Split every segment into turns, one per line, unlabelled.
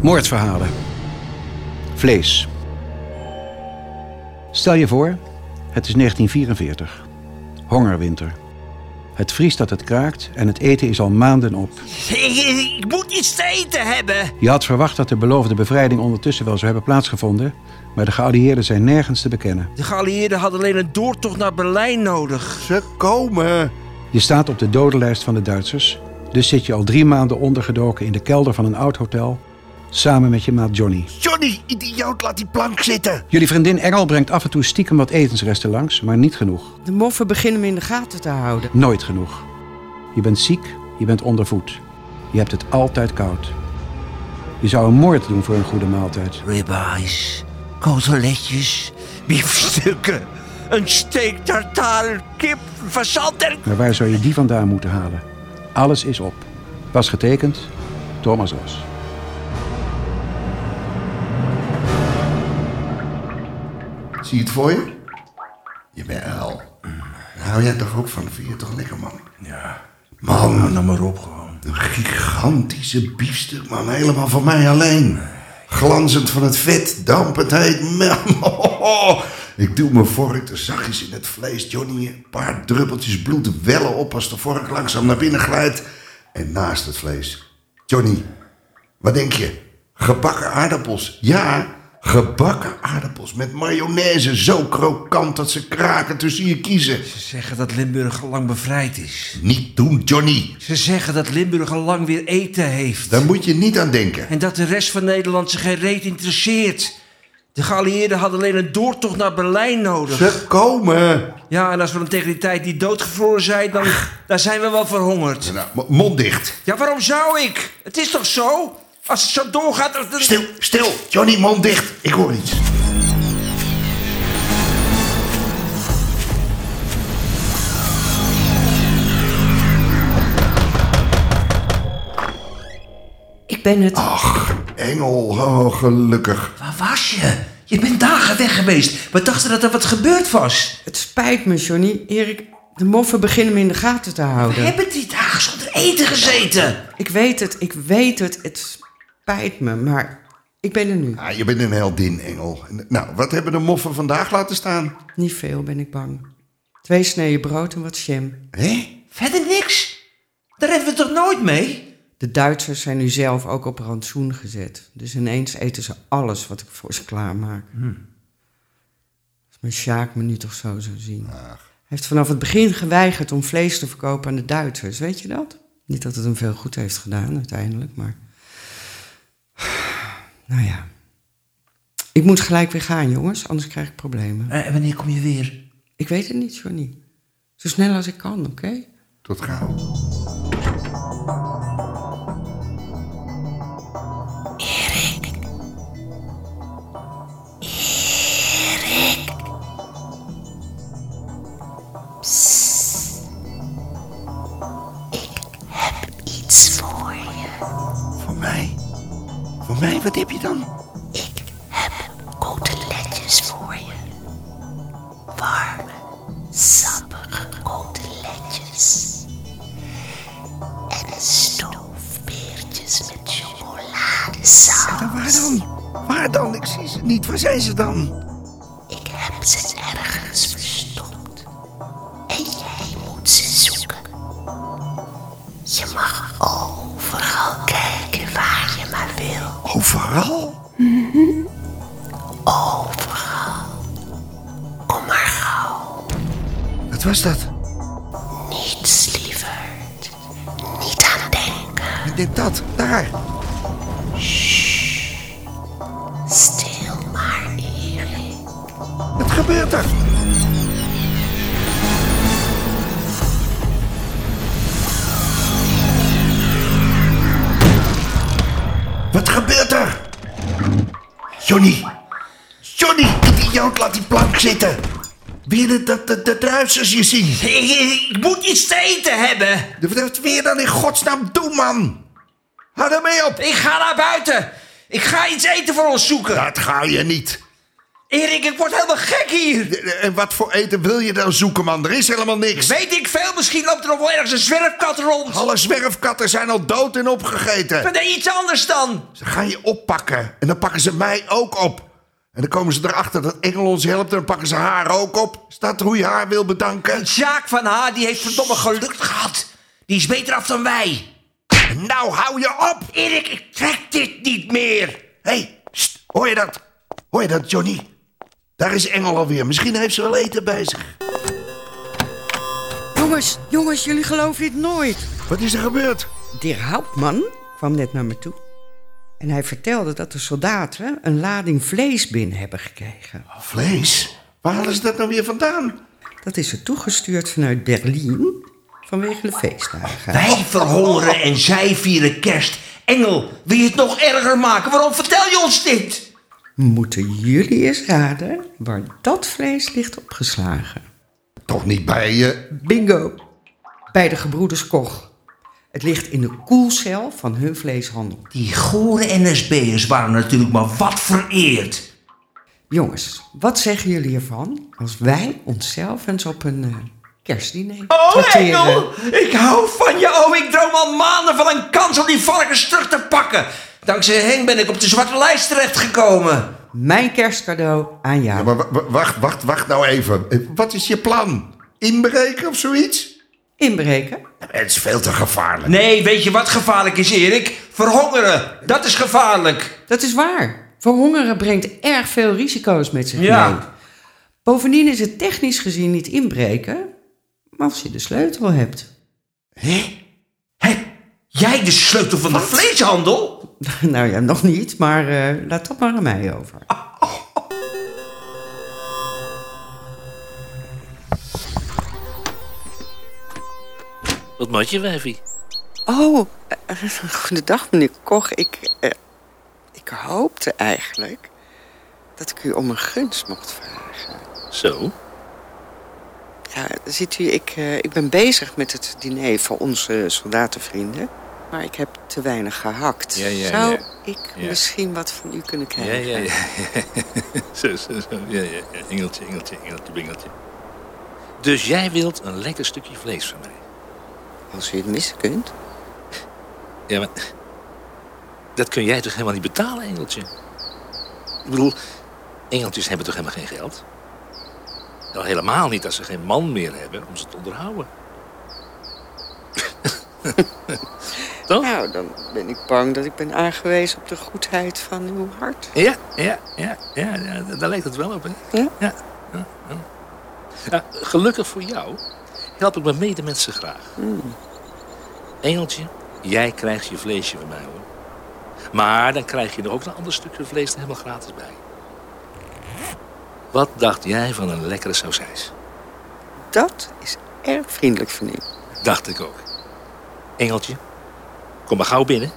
Moordverhalen. Vlees. Stel je voor, het is 1944. Hongerwinter. Het vriest dat het kraakt en het eten is al maanden op.
Ik, ik- ik moet iets te eten hebben.
Je had verwacht dat de beloofde bevrijding ondertussen wel zou hebben plaatsgevonden, maar de geallieerden zijn nergens te bekennen.
De geallieerden hadden alleen een doortocht naar Berlijn nodig.
Ze komen.
Je staat op de dodenlijst van de Duitsers, dus zit je al drie maanden ondergedoken in de kelder van een oud hotel, samen met je maat Johnny.
Johnny, idioot, laat die plank zitten.
Jullie vriendin Engel brengt af en toe stiekem wat etensresten langs, maar niet genoeg.
De moffen beginnen me in de gaten te houden.
Nooit genoeg. Je bent ziek, je bent ondervoed. Je hebt het altijd koud. Je zou een moord doen voor een goede maaltijd.
Ribeyes, koteletjes, biefstukken, een steak tartare, kip, fazant en...
Maar waar zou je die vandaan moeten halen? Alles is op. Was getekend, Thomas Ros.
Zie je het voor je? Jawel. Hou jij toch ook van? Vind je het toch lekker, man?
Ja,
Man,
nam maar op gewoon.
een gigantische biefstuk, man. Helemaal van mij alleen. Glanzend van het vet, dampend heet. Man, Ik duw mijn vork er zachtjes in het vlees, Johnny. Een paar druppeltjes bloed wellen op als de vork langzaam naar binnen glijdt. En naast het vlees. Johnny, wat denk je? Gebakken aardappels. Ja, gebakken aardappels met mayonaise. Zo krokant dat ze kraken tussen je kiezen.
Ze zeggen dat Limburg al lang bevrijd is.
Niet doen, Johnny.
Ze zeggen dat Limburg al lang weer eten heeft.
Daar moet je niet aan denken.
En dat de rest van Nederland zich geen reet interesseert. De geallieerden hadden alleen een doortocht naar Berlijn nodig.
Ze komen.
Ja, en als we dan tegen die tijd niet doodgevroren zijn, dan, dan zijn we wel verhongerd.
Nou, mo- mond dicht.
Ja, waarom zou ik? Het is toch zo? Als het zo doorgaat... dan- dan-
Stil, stil. Johnny, mond dicht. Ik hoor iets.
Ik ben het.
Engel, oh, gelukkig.
Waar was je? Je bent dagen weg geweest. We dachten dat er wat gebeurd was.
Het spijt me, Johnny. Erik, de moffen beginnen me in de gaten te
We
houden.
hebben drie dagen zonder eten gezeten.
Ik weet het, ik weet het. Het spijt me, maar ik ben er nu.
Ah, je bent een heldin, Engel. Nou, wat hebben de moffen vandaag laten staan?
Niet veel ben ik bang. Twee sneeën brood en wat jam.
Hé?
Verder niks. Daar hebben we toch nooit mee?
De Duitsers zijn nu zelf ook op rantsoen gezet. Dus ineens eten ze alles wat ik voor ze klaarmaak. Als mijn Sjaak me nu toch zo zou zien. Hij heeft vanaf het begin geweigerd om vlees te verkopen aan de Duitsers, weet je dat? Niet dat het hem veel goed heeft gedaan uiteindelijk, maar. Nou ja. Ik moet gelijk weer gaan, jongens, anders krijg ik problemen.
En Eh, wanneer kom je weer?
Ik weet het niet, Johnny. Zo snel als ik kan, oké?
Tot gauw.
iets voor je.
Voor mij? Voor mij? Wat heb je dan?
Ik heb koteletjes voor je. Warme, sappige koteletjes. En stoofpeertjes met chocoladesaus.
Waar dan? Waar dan? Ik zie ze niet. Waar zijn ze dan?
Ik heb ze ergens verstopt. En jij moet ze zoeken. Je mag overal kijken waar je maar wil.
Overal?
Mhm. Overal. Kom maar gauw.
Wat was dat?
Niets, lieverd. Niet aan denken.
Ik denk dat. Daar.
Stil maar, Erik.
Wat gebeurt er? Wat gebeurt er? Johnny! Johnny, idioot, laat die plank zitten! Willen dat de, de Duitsers je zien?
Ik, ik- ik moet iets te eten hebben.
Wat wil je dan in godsnaam doen, man? Hou daarmee op!
Ik ga naar buiten. Ik ga iets eten voor ons zoeken.
Dat ga je niet!
Erik, ik word helemaal gek hier.
En wat voor eten wil je dan zoeken, man? Er is helemaal niks.
Weet ik veel, misschien loopt er nog wel ergens een zwerfkat rond.
Alle zwerfkatten zijn al dood en opgegeten.
Maar nee, iets anders dan.
Ze gaan je oppakken. En dan pakken ze mij ook op. En dan komen ze erachter dat Engel ons helpt en dan pakken ze haar ook op. Staat er hoe je haar wil bedanken?
Sjaak van Haar, die heeft verdomme geluk gehad. Die is beter af dan wij.
Nou, hou je op!
Erik, ik trek dit niet meer.
Hé, hey, sst, hoor je dat? Hoor je dat, Johnny? Daar is Engel alweer. Misschien heeft ze wel eten bij zich.
Jongens, jongens, jullie geloven dit nooit.
Wat is er gebeurd?
Dirk Houtman kwam net naar me toe. En hij vertelde dat de soldaten een lading vlees binnen hebben gekregen.
Vlees? Waar halen ze dat nou weer vandaan?
Dat is er toegestuurd vanuit Berlijn vanwege de feestdagen.
Wij verhongeren en zij vieren kerst. Engel, wil je het nog erger maken? Waarom vertel je ons dit?
Moeten jullie eens raden waar dat vlees ligt opgeslagen?
Toch niet bij je?
Bingo! Bij de gebroeders Koch. Het ligt in de koelcel van hun vleeshandel.
Die gore NSB'ers waren natuurlijk maar wat vereerd.
Jongens, wat zeggen jullie ervan als wij onszelf eens op een eh, kerstdiner
Oh,
trakteren?
Engel, ik hou van je. Oh, ik droom al maanden van een kans om die varkens terug te pakken. Dankzij Henk ben ik op de zwarte lijst terechtgekomen.
Mijn kerstcadeau aan jou.
Ja, maar wa- wa- wacht, wacht, wacht nou even. Eh, Wat is je plan? Inbreken of zoiets?
Inbreken?
Het is veel te gevaarlijk.
Nee, weet je wat gevaarlijk is, Erik? Verhongeren, dat is gevaarlijk.
Dat is waar. Verhongeren brengt erg veel risico's met zich
Ja.
mee. Bovendien is het technisch gezien niet inbreken, maar als je de sleutel hebt.
Heb jij de sleutel van de vleeshandel?
Nou ja, nog niet, maar eh, laat dat maar aan mij over.
Wat moet je, wijfie?
Oh, eh, goedendag meneer Koch. Ik, eh, ik hoopte eigenlijk dat ik u om een gunst mocht vragen.
Zo?
Ja, ziet u, ik, eh, ik ben bezig met het diner voor onze soldatenvrienden. Maar ik heb te weinig gehakt.
Ja, ja,
Zou
ja.
ik
Ja.
misschien wat van u kunnen
Ja,
krijgen?
ja, ja. zo, zo, zo. Ja, ja, ja. Engeltje, engeltje, engeltje, bingeltje. Dus jij wilt een lekker stukje vlees van mij?
Als u het missen kunt.
Ja, maar... Dat kun jij toch helemaal niet betalen, engeltje? Ik bedoel, engeltjes hebben toch helemaal geen geld? Nou, helemaal niet als ze geen man meer hebben om ze te onderhouden. toch?
Nou, dan ben ik bang dat ik ben aangewezen op de goedheid van uw hart.
Ja, ja, ja, ja, ja, da- daar lijkt het wel op, hè?
Ja.
ja, ja, ja. Ja, gelukkig voor jou help ik mijn medemensen graag. Engeltje, jij krijgt je vleesje van mij, hoor. Maar dan krijg je er ook een ander stukje vlees er helemaal gratis bij. Wat dacht jij van een lekkere sausijs?
Dat is erg vriendelijk van u.
Dacht ik ook. Engeltje, kom maar gauw binnen.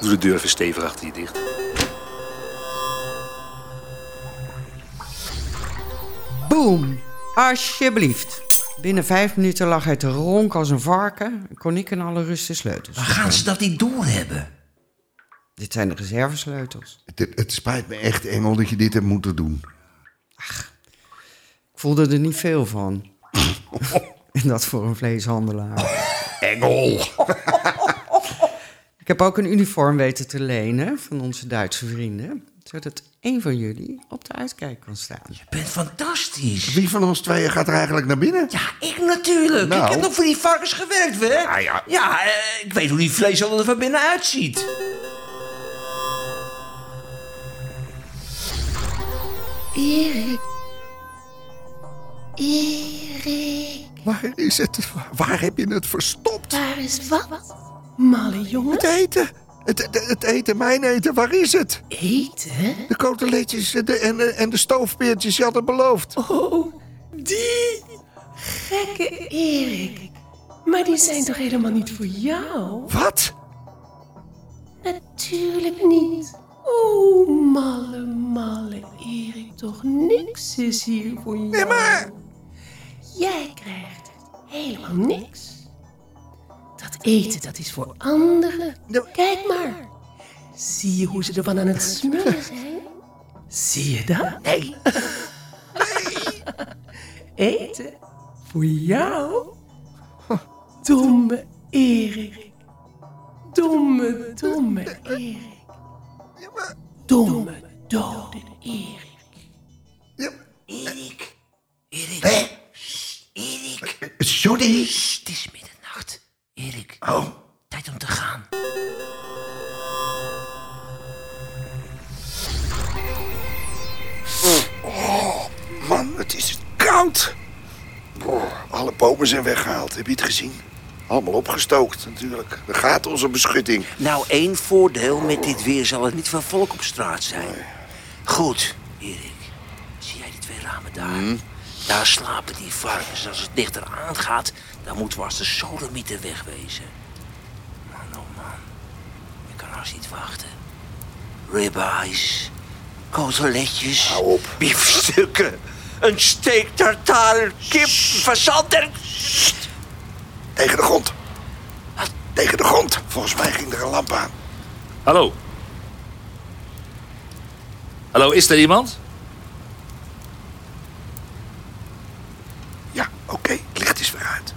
Doe de deur even stevig achter je dicht.
Boom! Alsjeblieft. Binnen vijf minuten lag hij te ronken als een varken en kon ik in alle rust de sleutels.
Ah.
Waar gaan ze dat niet doorhebben?
Dit zijn de reservesleutels.
Het, het spijt me echt, Engel, dat je dit hebt moeten doen.
Ik voelde er niet veel van. en dat voor een vleeshandelaar.
Engel!
Ik heb ook een uniform weten te lenen van onze Duitse vrienden. Zodat één van jullie op de uitkijk kan staan.
Je bent fantastisch.
Wie van ons tweeën gaat er eigenlijk naar binnen?
Ja, ik natuurlijk.
Nou.
Ik heb nog voor die varkens gewerkt, hè?
Ja, ja.
eh, ik weet hoe die vleeshandel er van binnen uitziet.
Erik. Erik.
Waar is het? Waar heb je het verstopt?
Waar is wat?
Malle jongen.
Het eten! Het, het, het eten, mijn eten, waar is het?
Eten?
De koteletjes de, en, de- en de stoofpeertjes, je had het beloofd.
Oh, die gekke Erik. Maar die zijn toch helemaal niet voor jou?
Wat?
Natuurlijk niet.
Oh, malle, malle Erik. Toch niks is hier voor jou. Nee,
maar-
Jij krijgt helemaal niks. Dat eten, dat is voor anderen.
Nou-
Kijk maar. Zie je hoe ze ervan aan het smullen zijn? Zie je dat? Nee. Eten voor jou? Domme Erik. Domme, domme Erik. Domme, dode Erik.
Erik. Erik. Sst, Erik.
Sorry.
Sst, Het is middernacht. Erik.
Oh,
Tijd om te gaan.
man, het is koud. Boah, alle bomen zijn weggehaald, heb je het gezien? Allemaal opgestookt natuurlijk. Daar gaat onze beschutting.
Nou, één voordeel met dit weer zal het niet van volk op straat zijn. Goed, Erik. Zie jij die twee ramen daar?
Hmm?
Daar slapen die varkens. Als het dichter aangaat, dan moeten we als de sodomieten wegwezen. Man, oh man. Ik kan haast niet wachten. Ribeyes, koteletjes,
Hou op.
biefstukken, een steak tartare, kip, fazant en...
Tegen de grond. Tegen de grond. Volgens mij ging er een lamp aan.
Hallo. Hallo, is er iemand?
Ja, oké, het licht is weer uit.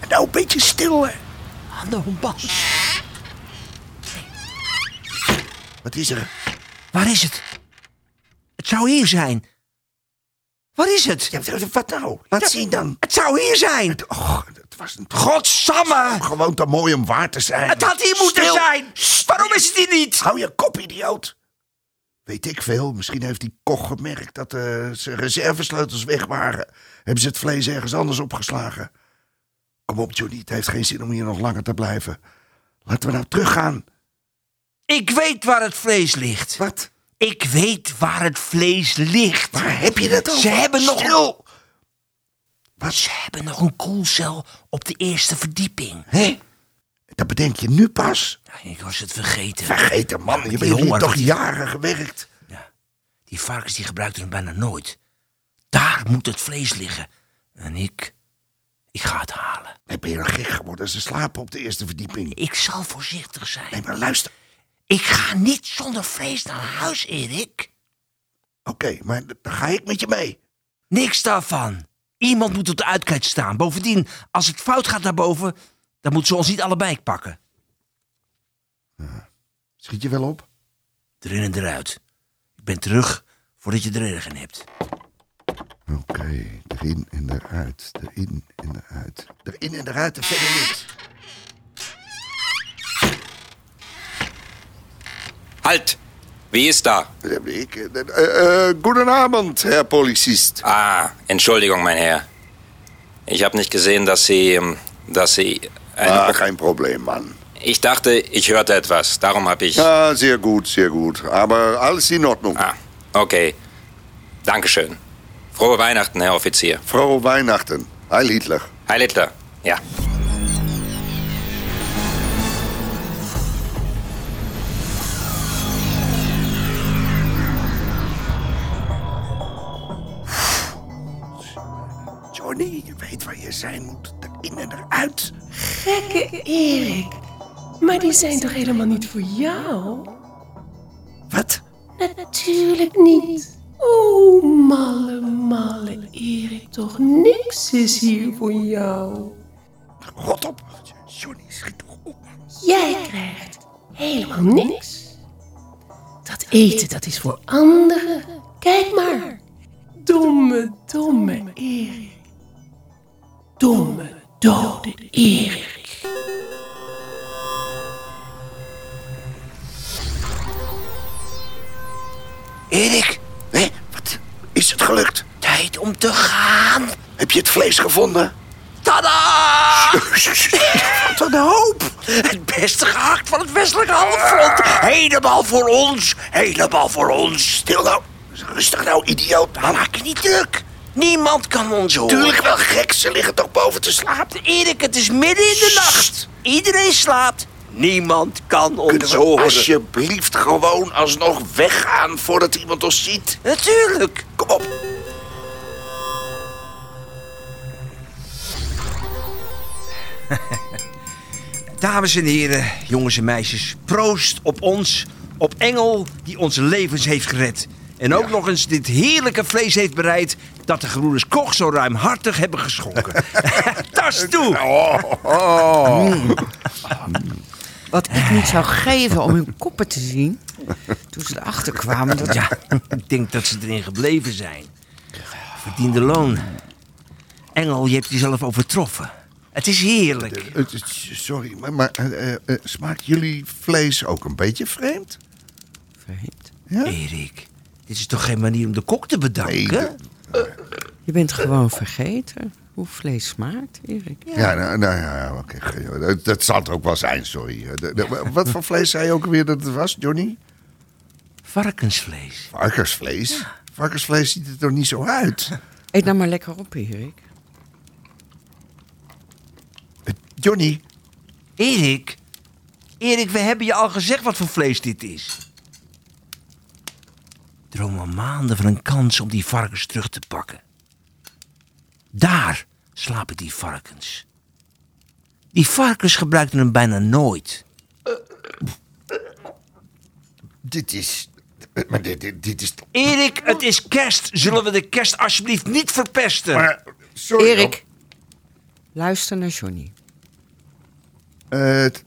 En nou een beetje stil, hè.
Hallo, man.
Wat is er?
Waar is het? Het zou hier zijn. Waar is het?
Ja, wat- wat nou? Laat
Ja.
zien dan.
Het zou hier zijn.
Och, het oh, was een...
Godsamme.
Gewoon te mooi om waar te zijn.
Het had hier moeten
Stil.
zijn. Waarom is het hier niet?
Hou je kop, idioot. Weet ik veel. Misschien heeft die koch gemerkt dat eh, zijn reservesleutels weg waren. Hebben ze het vlees ergens anders opgeslagen. Kom op, Johnny. Het heeft geen zin om hier nog langer te blijven. Laten we nou teruggaan.
Ik weet waar het vlees ligt.
Wat?
Ik weet waar het vlees ligt.
Waar heb je dat over?
Ze hebben nog...
Stil.
Ze hebben nog een koelcel op de eerste verdieping.
Hé? Dat bedenk je nu pas?
Ja, Ik was het vergeten.
Vergeten, man.
Ja,
Je
die
bent hier
honger,
toch
dat-
jaren gewerkt?
Die varkens die gebruikten hem bijna nooit. Daar moet het vlees liggen. En ik... Ik ga het halen.
Ik ben je nog gek geworden? Ze slapen op de eerste verdieping.
Ik zal voorzichtig zijn.
Nee, maar luister.
Ik ga niet zonder vlees naar huis, Erik.
Oké, maar d- dan ga ik met je mee.
Niks daarvan. Iemand moet op de uitkijk staan. Bovendien, als het fout gaat naar boven, dan moeten ze ons niet allebei pakken.
Schiet je wel op?
Erin en eruit. Ik ben terug voordat je er erg in hebt.
Oké, erin en eruit, erin en eruit. Erin en eruit en verder niks.
Halt! Wie ist da?
Dat heb ik. Eh, eh, eh, goedenavond, herr Polizist.
Ah, Entschuldigung, mein Herr. Ich habe nicht gesehen, dass Sie. ähm, dass Sie. Eine
Ah, kein Problem, Mann.
Ich dachte, ich hörte etwas. Darum habe ich.
Ja, sehr gut, sehr gut. Aber alles in Ordnung.
Ah, okay. Dankeschön. Frohe Weihnachten, Herr Offizier.
Frohe Weihnachten. Heil Hitler.
Heil Hitler. Ja.
Johnny, je weet waar je zijn moet. Erin en eruit.
Gekke Erik. Maar die zijn toch helemaal niet voor jou?
Wat?
Natuurlijk niet. Oh, malle, malle Erik, toch niks is hier voor jou.
Rot op. Johnny, schiet toch op.
Jij krijgt helemaal niks. Dat eten, dat is voor anderen. Kijk maar. Domme, domme Erik. Domme, dode Erik.
Erik,
Hé, wat? Is het gelukt?
tijd om te gaan.
Heb je het vlees gevonden?
Tada!
Wat een hoop.
Het beste gehakt van het westelijke halfrond. Helemaal voor ons. Helemaal voor ons.
Stil nou. Rustig nou, idioot.
Maak je niet druk. Niemand kan ons horen.
Tuurlijk wel gek, ze liggen toch boven te slapen.
Erik, het is midden in de nacht. Iedereen slaapt. Niemand kan ons
Kunnen we
horen.
alsjeblieft gewoon alsnog weggaan voordat iemand ons ziet?
Natuurlijk.
Kom op.
Dames en heren, jongens en meisjes, proost op ons, op Engel die ons levens heeft gered.
En ook nog eens dit heerlijke vlees heeft bereid... dat de gebroeders Koch zo ruimhartig hebben geschonken. Tas toe!
Nou. Oh, Hmm.
Wat ik niet zou geven om hun koppen te zien. Toen ze erachter kwamen. Dat,
Ja, ik denk dat ze erin gebleven zijn. Verdiende loon. Engel, je hebt jezelf overtroffen. Het is heerlijk.
Eh, Het is- Sorry, maar, maar eh, eh, eh, smaakt jullie vlees ook een beetje vreemd?
Vreemd.
Ja?
Erik, dit is toch geen manier om de kok te
Nee,
bedanken?
de-
Je bent gewoon vergeten hoe vlees smaakt, Erik.
ja, nou, nou ja, oké. ge- Dat, dat zal het ook wel zijn, sorry. Eh, de- de- wat voor vlees zei je ook weer dat het was, Johnny?
Varkensvlees.
Varkensvlees? Varkensvlees ziet er toch niet zo uit?
Eet nou maar lekker op, Erik.
Johnny,
Erik, Erik, we hebben je al gezegd wat voor vlees dit is. Droom al maanden van een kans om die varkens terug te pakken. Daar slapen die varkens. Die varkens gebruikten hem bijna nooit.
dit is... eh, Maar dit, dit, dit is...
Erik, het is kerst. Zullen we de kerst alsjeblieft niet verpesten?
Maar, sorry,
Erik, luister naar Johnny.
Eh, t-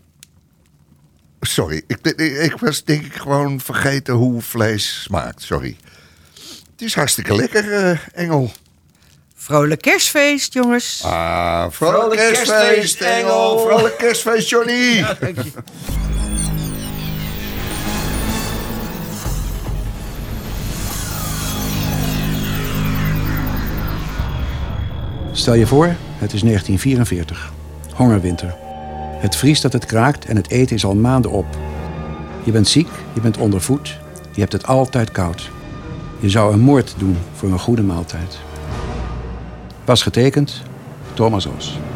sorry, ik, ik, ik was denk ik gewoon vergeten hoe vlees smaakt. Sorry. Het is hartstikke lekker, eh, Engel.
Vrolijk kerstfeest, jongens.
Ah, vrolijk kerstfeest, Engel. Vrolijk kerstfeest, Johnny.
Stel je voor, het is 1944. Hongerwinter. Het vriest dat het kraakt en het eten is al maanden op. Je bent ziek, je bent ondervoed, je hebt het altijd koud. Je zou een moord doen voor een goede maaltijd. Was getekend, Thomas Os.